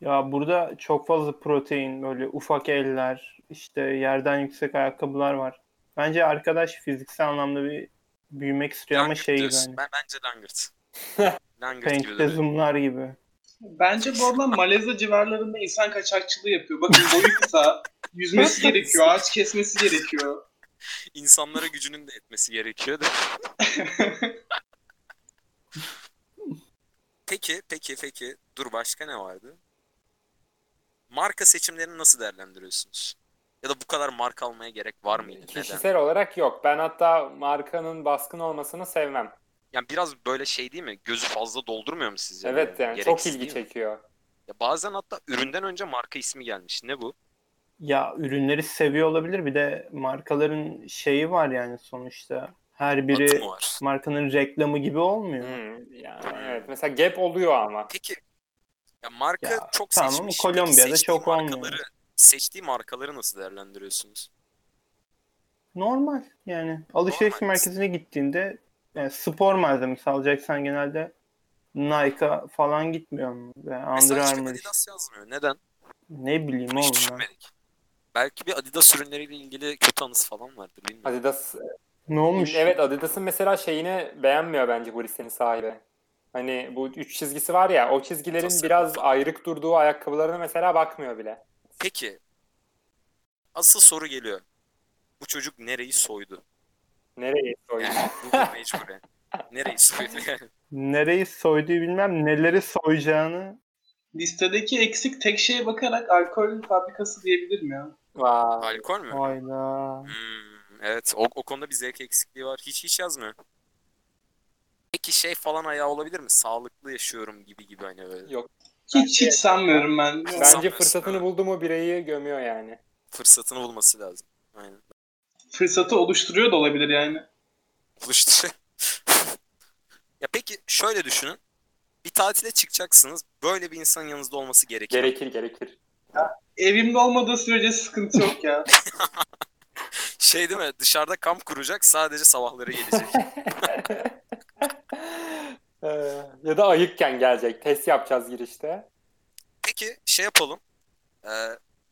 Ya burada çok fazla protein, böyle ufak eller, işte yerden yüksek ayakkabılar var. Bence arkadaş fiziksel anlamda bir büyümek istiyor ama
Langırt
şey gibi
diyorsun.
hani.
Ben bence langırt. langırt gibi
Paint'te
duruyor.
zoomlar gibi.
Bence bu adam Malezya civarlarında insan kaçakçılığı yapıyor. Bakın boyu kısa, yüzmesi gerekiyor, ağaç kesmesi gerekiyor.
İnsanlara gücünün de etmesi gerekiyor da. peki, peki, peki. Dur başka ne vardı? Marka seçimlerini nasıl değerlendiriyorsunuz? Ya da bu kadar marka almaya gerek var mıydı? Neden?
Kişisel olarak yok. Ben hatta markanın baskın olmasını sevmem.
Yani biraz böyle şey değil mi? Gözü fazla doldurmuyor mu sizce?
Evet yani çok
Gereksiz
ilgi
değil mi?
çekiyor.
Ya bazen hatta üründen önce marka ismi gelmiş. Ne bu?
Ya ürünleri seviyor olabilir. Bir de markaların şeyi var yani sonuçta. Her biri
Adı mı var?
markanın reklamı gibi olmuyor.
Hmm, yani evet mesela gap oluyor ama.
Peki ya marka
Ya,
çok
tamam,
seçmiş.
Kolombiya'da
Peki seçtiği
çok olmuyor.
markaları- Seçtiği markaları nasıl değerlendiriyorsunuz?
Normal yani. Alışveriş
Normal.
merkezine gittiğinde yani spor malzemesi alacaksan genelde Nike'a falan gitmiyor mu? Ve Under
Mesela hiçbir
Armour işte.
Adidas yazmıyor. Neden?
ne bileyim
Bunu hiç
oğlum ben.
düşünmedik. Belki bir Adidas ürünleriyle ilgili kötü anısı falan vardır bilmiyorum.
Adidas
Ne olmuş?
Evet Adidas'ın mesela şeyini beğenmiyor bence bu listenin sahibi. Hani bu üç çizgisi var ya o çizgilerin
Tasarım.
biraz ayrık durduğu ayakkabılarına mesela bakmıyor bile.
Peki asıl soru geliyor. Bu çocuk nereyi soydu?
Nereye soyuyor?
Yani bu mecburen. Nereyi soydu yani?
Nereyi soyduğu bilmem neleri soyacağını.
Listedeki eksik tek şeye bakarak alkol fabrikası diyebilirim ya.
Vay.
Alkol mü?
Hayda.
Hmm, evet o, o konuda bir zevk eksikliği var. Hiç hiç yazmıyor. Peki şey falan ayağı olabilir mi? Sağlıklı yaşıyorum gibi gibi hani böyle.
Hiç hiç sanmıyorum ben.
Bence
Sanmıyorsun,
fırsatını
evet.
buldu mu bireyi gömüyor yani.
Fırsatını bulması lazım. Aynen.
Fırsatı oluşturuyor da olabilir yani.
buluştu. ya peki şöyle düşünün. Bir tatile çıkacaksınız. Böyle bir insan yanınızda olması gerekiyor.
Gerekir gerekir.
Evimde olmadığı sürece sıkıntı yok ya.
Şey değil mi? Dışarıda kamp kuracak sadece sabahları gelecek.
Ee, ya da ayıkken gelecek. Test yapacağız girişte.
peki şey yapalım. Ee,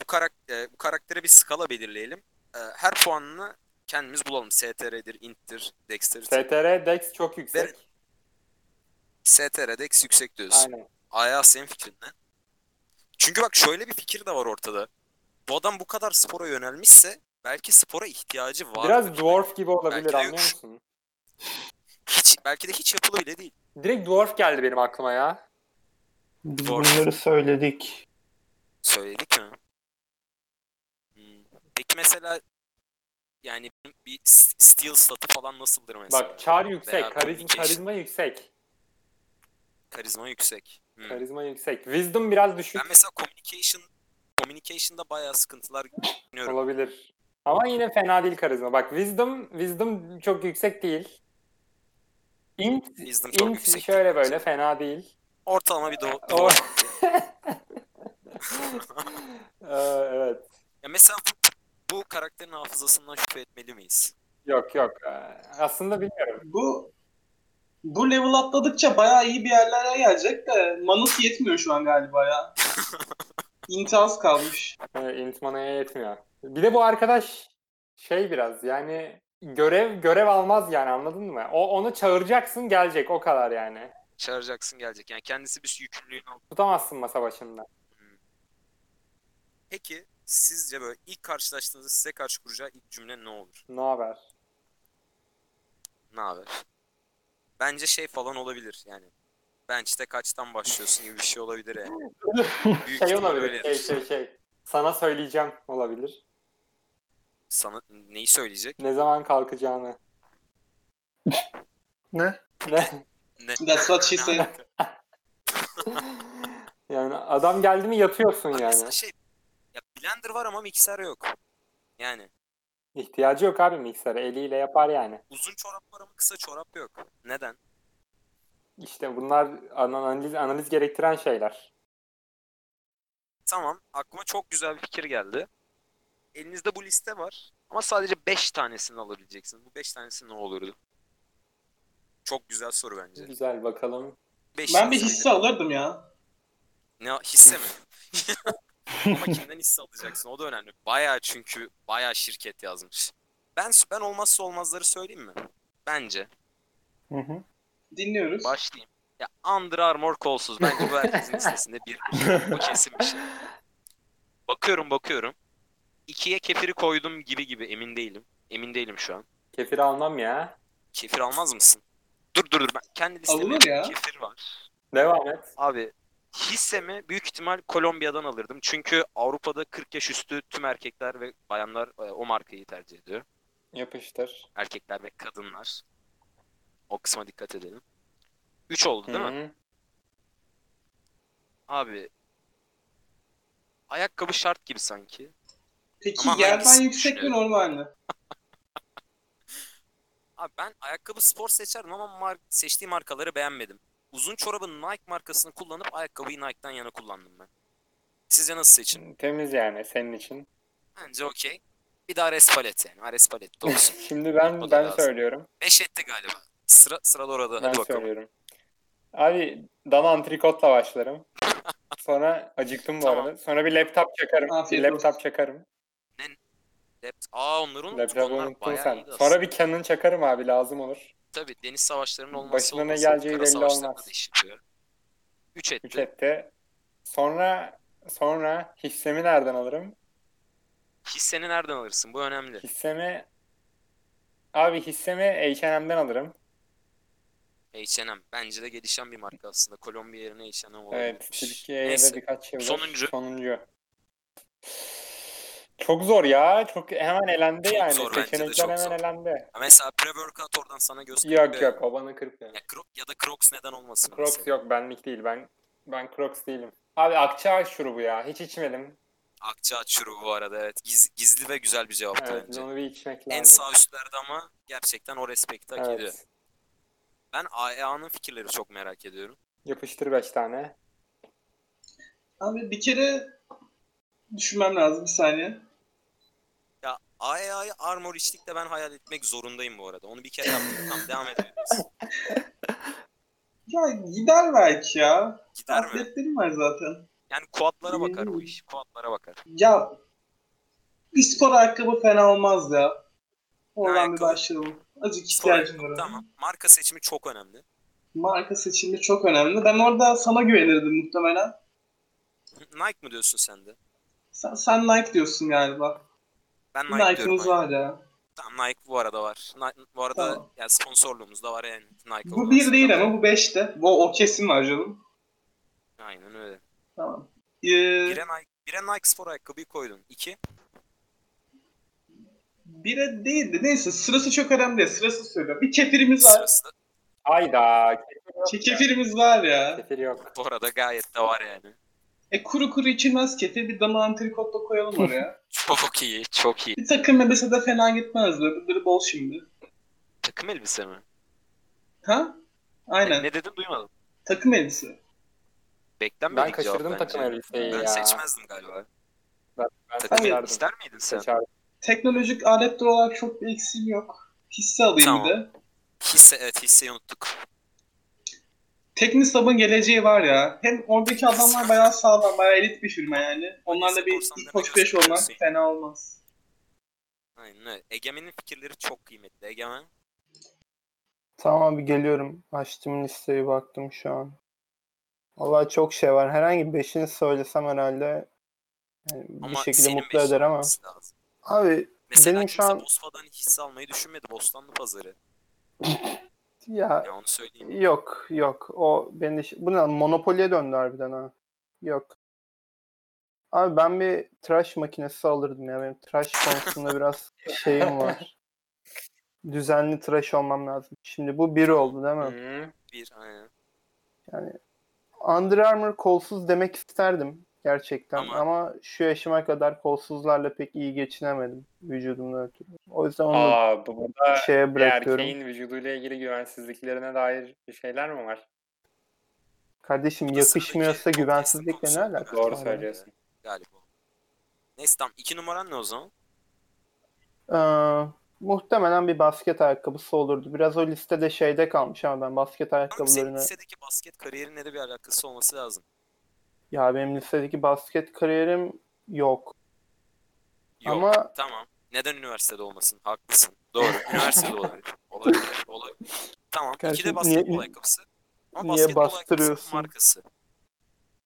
bu, karak e, bu karaktere bir skala belirleyelim. Ee, her puanını kendimiz bulalım. STR'dir, INT'tir, Dexterity.
STR Dex çok yüksek.
STR, Dex yüksek diyorsun.
Aynen.
Aya senin fikrin ne? Çünkü bak şöyle bir fikir de var ortada. Bu adam bu kadar spora yönelmişse belki spora ihtiyacı var.
Biraz dwarf gibi olabilir
Belki de
anlıyor
yok.
musun?
Hiç, belki de hiç yapılı bile değil.
Direkt dwarf geldi benim aklıma ya.
Biz
Doğru.
bunları söyledik.
Söyledik mi? Hmm. Peki mesela yani benim bir s- steel statı falan nasıldır mesela?
Bak çar yüksek.
Veya
Karizma,
communication.
karizma yüksek.
Karizma yüksek. Hmm.
Karizma yüksek. Wisdom biraz düşük
Ben mesela communication communication'da bayağı sıkıntılar görüyorum.
olabilir. Ama yine fena değil karizma. Bak wisdom wisdom çok yüksek değil. Int,
Wisdom çok
int
yüksek.
şöyle böyle fena değil.
Ortalama bir do-
O-
do-
Ee, evet.
ya mesela bu, bu karakterin hafızasından şüphe etmeli miyiz?
Yok yok. Ee, Aslında bilmiyorum.
Bu bu level atladıkça bayağı iyi bir yerlere gelecek de manası yetmiyor şu an galiba ya. İntihaz kalmış.
Ee, Int manaya yetmiyor. Bir de bu arkadaş şey biraz yani görev görev almaz yani anladın mı? O onu çağıracaksın gelecek o kadar yani.
Çağıracaksın gelecek. Yani kendisi bir yükümlülüğünü al.
Tutamazsın masa başında.
Peki sizce böyle ilk karşılaştığınızda size karşı kuracağı ilk cümle ne olur?
Ne haber?
ne haber? Bence şey falan olabilir yani. Bench'te kaçtan başlıyorsun gibi bir şey olabilir yani. Büyük
Şey
ihtimal
olabilir.
öyle.
Şey şey şey. Sana söyleyeceğim olabilir.
Sana neyi söyleyecek?
Ne zaman kalkacağını.
Ne?
Ne?
Ne?
That's what she said.
yani adam geldi mi yatıyorsun
Abi
yani.
mesela şey ya blender var ama mikser yok. Yani
İhtiyacı yok abi miksere. Eliyle yapar yani.
uzun çorap var ama kısa çorap yok. Neden?
İşte bunlar ana- analiz, analiz gerektiren şeyler.
Tamam aklıma çok güzel bir fikir geldi. Elinizde bu liste var ama sadece 5 tanesini alabileceksiniz. Bu 5 tanesi ne olurdu? Çok güzel soru bence.
Güzel bakalım.
Beş
Ben bir
insan-
hisse alırdım ya.
Ne hisse mi? Ama kimden hisse alacaksın? O da önemli. Bayağı çünkü bayağı şirket yazmış. Ben ben olmazsa olmazları söyleyeyim mi? Bence.
Hı hı.
Dinliyoruz.
Başlayayım. Ya Under Armour kolsuz. Bence bu herkesin listesinde bir. Bu kesin bir şey. Bakıyorum bakıyorum. İkiye kefiri koydum gibi gibi emin değilim. Emin değilim şu an.
Kefir almam ya.
Kefir almaz mısın? Dur dur dur. Ben kendi listemde
Alınır ya.
kefir var.
Devam et.
Abi hissemi büyük ihtimal Kolombiya'dan alırdım. Çünkü Avrupa'da 40 yaş üstü tüm erkekler ve bayanlar e, o markayı tercih ediyor.
Yapıştır.
Erkekler ve kadınlar. O kısma dikkat edelim. 3 oldu değil mi?
Hı hı.
Abi ayakkabı şart gibi sanki.
Peki
Ama
yerden
hangisi
yüksek mi
düşünüyorum?
normal mi?
Abi ben ayakkabı spor seçerdim ama mar- seçtiği markaları beğenmedim. Uzun çorabın Nike markasını kullanıp ayakkabıyı Nike'dan yana kullandım ben. Sizce nasıl seçin?
Temiz yani senin için.
Bence okey. Bir de Ares Palet yani. Ares Palet doğrusu.
Şimdi ben
O da
ben
lazım.
söylüyorum.
5 etti galiba. Sıra sıra da orada.
ben
Hadi bakalım.
söylüyorum. Abi dana antrikotla başlarım. Sonra acıktım bu
Tamam.
arada. Sonra bir laptop çakarım.
Afiyet
bir
olsun.
laptop çakarım.
Lept Aa onları unuttuk.
Laptopu
Onlar
unuttun
bayağı
sen.
iyiydi aslında.
Sonra bir Canon çakarım abi lazım olur.
Tabii deniz savaşlarının olması
Başına ne
olmasa
geleceği
kara
belli
savaşlarına
olmaz.
da iş yapıyor. 3 etti.
Üç etti. Sonra sonra hissemi nereden alırım?
Hisseni nereden alırsın? Bu önemli.
Hissemi abi hissemi H&M'den alırım.
H&M. Bence de gelişen bir marka aslında. Kolombiya yerine H&M
Evet.
olabilmiş.
Türkiye'ye de
Neyse.
birkaç şey var.
Sonuncu.
Sonuncu. Çok zor ya. Çok hemen elendi
Çok
yani.
zor, bence de
Seçenekler
çok
hemen
zor.
elendi.
Ha, Mesela pre-workout oradan sana göz
Yok
kırpıyor.
yok o bana kırk ya.
Ya, Cro- ya da Crocs neden olmasın?
Crocs
mesela?
yok benlik değil. Ben ben Crocs değilim. Abi akçaağaç şurubu ya. Hiç içmedim.
Akçaat şurubu bu arada evet. Giz- gizli ve güzel bir cevaptı
Evet, biz
bence.
onu bir içmek
En
lazım.
sağ üstlerde ama gerçekten o respekti hak ediyor.
Evet.
Ben AEA'nın fikirleri çok merak ediyorum.
Yapıştır 5 tane.
Abi bir kere düşünmem lazım bir saniye.
Ya AEA'yı Armor içlikle ben hayal etmek zorundayım bu arada. Onu bir kere yaptım. tamam devam edebiliriz.
Ya gider belki ya.
Gider mi?
Atletlerim var zaten.
Yani kuatlara bakar bu iş. Kuatlara bakar.
Ya bir spor ayakkabı fena olmaz ya. Oradan bir
Ayakkabı.
başlayalım. Azıcık
Sonra-
ihtiyacım var.
Tamam. Marka seçimi çok önemli.
Marka seçimi çok önemli. Ben orada sana güvenirdim muhtemelen.
Nike mı diyorsun sen de?
Sen, sen Nike diyorsun galiba.
Ben Nike diyorum.
Nike'ımız
Nike.
var ya.
Tamam, Nike bu arada var. Nike, bu arada
Tamam.
yani sponsorluğumuz da var yani. Nike
Bu
olmaz.
bir değil ama bu beşte. Bu o kesin var canım.
Aynen öyle.
Tamam. Ee,
Bire Nike, bire Nike spor ayakkabıyı koydun. İki.
bire değil de neyse sırası çok önemli değil. Sırası söylüyorum. Bir kefirimiz var.
Sırası da
Hayda.
Ke- Kefirimiz var ya.
Kefir yok.
bu arada gayet de var yani.
E kuru kuru içilmez kefir. Bir dana antrikot da koyalım oraya.
Çok iyi, çok iyi.
bir takım elbise de fena gitmez. Öbürleri bol şimdi.
Takım elbise mi?
Ha? Aynen.
Ne, ne dedin duymadım.
Takım elbise.
Beklenmedik
Ben kaçırdım
cevap
takım
bence.
elbiseyi
Ben
ya.
seçmezdim galiba.
Ben
Takım
seçerdim.
elbise ister miydin sen?
Seçerdim.
Teknolojik aletler olarak çok bir eksiğim yok. Hisse alayım
Tamam.
bir de.
Hisse, evet hisseyi unuttuk.
Teknisab'ın geleceği var ya. Hem oradaki adamlar bayağı sağlam, bayağı elit bir firma yani. Onlarla bir
Korsan demek
hoş beş
aslında
olmak
korsan.
fena olmaz.
Aynen öyle. Egemen'in fikirleri çok kıymetli. Egemen.
Tamam abi geliyorum. Açtım listeyi baktım şu an. Valla çok şey var. Herhangi beşini söylesem herhalde yani bir
Ama
şekilde
senin
mutlu
beş
eder ama.
olması lazım.
Abi
Mesela
Benim şu
kimse
an-
Bosfa'dan hisse almayı düşünmedi. Bostanlı pazarı.
Ya
Ya onu söyleyeyim.
yok yok. O beni iş- bu ne lan? monopoliye döndü harbiden ha. Yok. Abi ben bir tıraş makinesi alırdım ya. Benim tıraş konusunda biraz şeyim var. Düzenli tıraş olmam lazım. Şimdi bu biri oldu
Hmm.
değil mi?
Hı.
Bir aynen.
Under Armour kolsuz demek isterdim gerçekten
Ama-
ama, şu yaşıma kadar kolsuzlarla pek iyi geçinemedim vücudumdan ötürü. O yüzden onu
Aa, bu burada
şeye
bir
bırakıyorum.
erkeğin vücuduyla ilgili güvensizliklerine dair bir şeyler mi var?
Kardeşim
Bu da sıradaki
yakışmıyorsa
podcast'ın
güvensizlikle
konusu
ne alakası
Doğru
var ya?
söylüyorsun.
şey- Galiba. Neyse tamam. iki numaran ne o zaman?
Ee, muhtemelen bir basket ayakkabısı olurdu. Biraz o listede şeyde kalmış ama ben basket
Ama senin
ayakkabılarını...
lisedeki basket kariyerinle de bir alakası olması lazım.
Ya benim lisedeki basket kariyerim yok.
Yok.
Ama
Tamam. Neden üniversitede olmasın? Haklısın. Doğru. Üniversitede olabilir. Olabilir. Olabilir. Tamam. İki de
Kardeşim,
basketbol
niye-
ayakkabısı. Ama
niye
basketbol ayakkabısının
bastırıyorsun?
markası.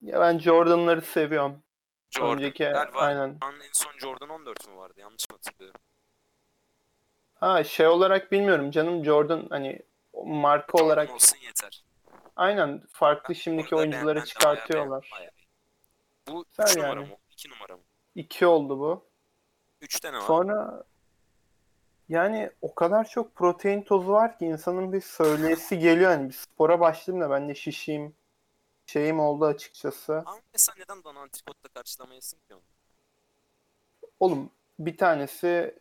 ya ben Jordan'ları seviyorum.
Jordan.
Önceki
Galiba
aynen.
Jordan'ın en son Jordan 14 mü vardı? Yanlış mı hatırlıyorum?
Ha şey olarak bilmiyorum canım Jordan hani o marka olarak
Jordan olsun yeter.
aynen farklı şimdiki
Orada ben- ben
oyuncuları
de
çıkartıyorlar.
bayağı beğendim, bayağı beğendim. Bu
Güzel
3 numara
yani.
mı? 2 numara mı?
İki oldu bu.
3'te ne var?
Sonra yani o kadar çok protein tozu var ki insanın bir söyleyesi geliyor. Hani bir spora başladım da ben de şişeyim şeyim oldu açıkçası.
Ama mesela neden Don Antrikot'la karşılamayasın ki onu?
Oğlum bir tanesi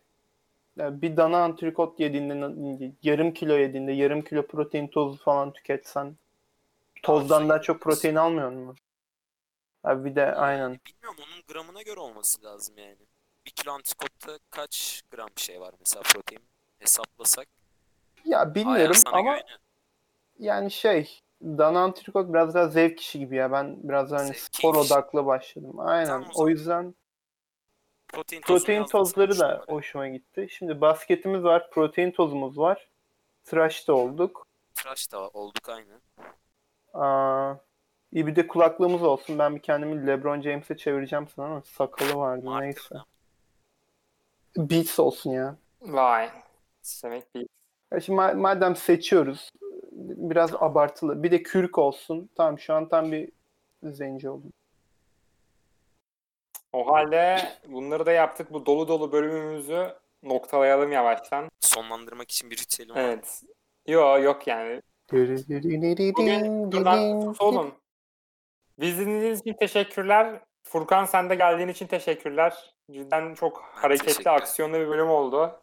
ya bir dana antrikot yediğinde yarım kilo yediğinde yarım kilo protein tozu falan tüketsen tozdan daha çok protein almıyor mu? Ya bir de aynen.
Yani E, bilmiyorum onun gramına göre olması lazım yani. 1 kilo antrikotta kaç gram şey var mesela protein hesaplasak?
Ya
Aynen
bilmiyorum
sana
ama
güveniyorum.
yani şey Dana Antrikot biraz daha zevk işi gibi ya. Ben biraz daha hani
Zevk
spor
işi.
odaklı başladım. Aynen.
Tamam o zaman.
o yüzden
Protein, tozunu
protein
yazdım sana
tozları
üç
da
numara.
hoşuma gitti. Şimdi basketimiz var, protein tozumuz var. Tıraş da olduk.
Tıraş da olduk aynı.
Aa, iyi bir de kulaklığımız olsun. Ben bir kendimi LeBron James'e çevireceğim sana ama sakalı vardı
Marka
neyse.
da.
Beats olsun ya.
Vay. Demek bir
Ya şimdi ma- madem seçiyoruz biraz abartılı. Bir de kürk olsun. Tamam şu an tam bir zenci oldum.
O halde bunları da yaptık. Bu dolu dolu bölümümüzü noktalayalım yavaştan.
Sonlandırmak için bir ritüelim var.
Evet. Yo yok yani. Bugün buradan solun. Bizi dinlediğiniz için teşekkürler. Furkan sen de geldiğin için teşekkürler. Cidden çok
teşekkür
hareketli,
ederim.
aksiyonlu bir bölüm oldu.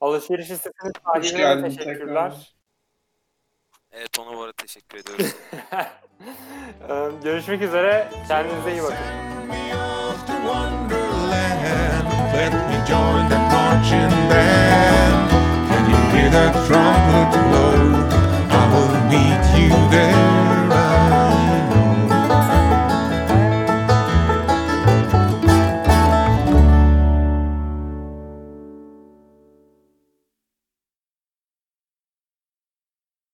Alışveriş sitesinin
Hoş
sahibine de
geldin
teşekkürler.
Evet ona bu arada teşekkür ediyorum.
Ee, Görüşmek üzere. Kendinize iyi bakın.
Send me off to Wonderland. Let me join the marching band.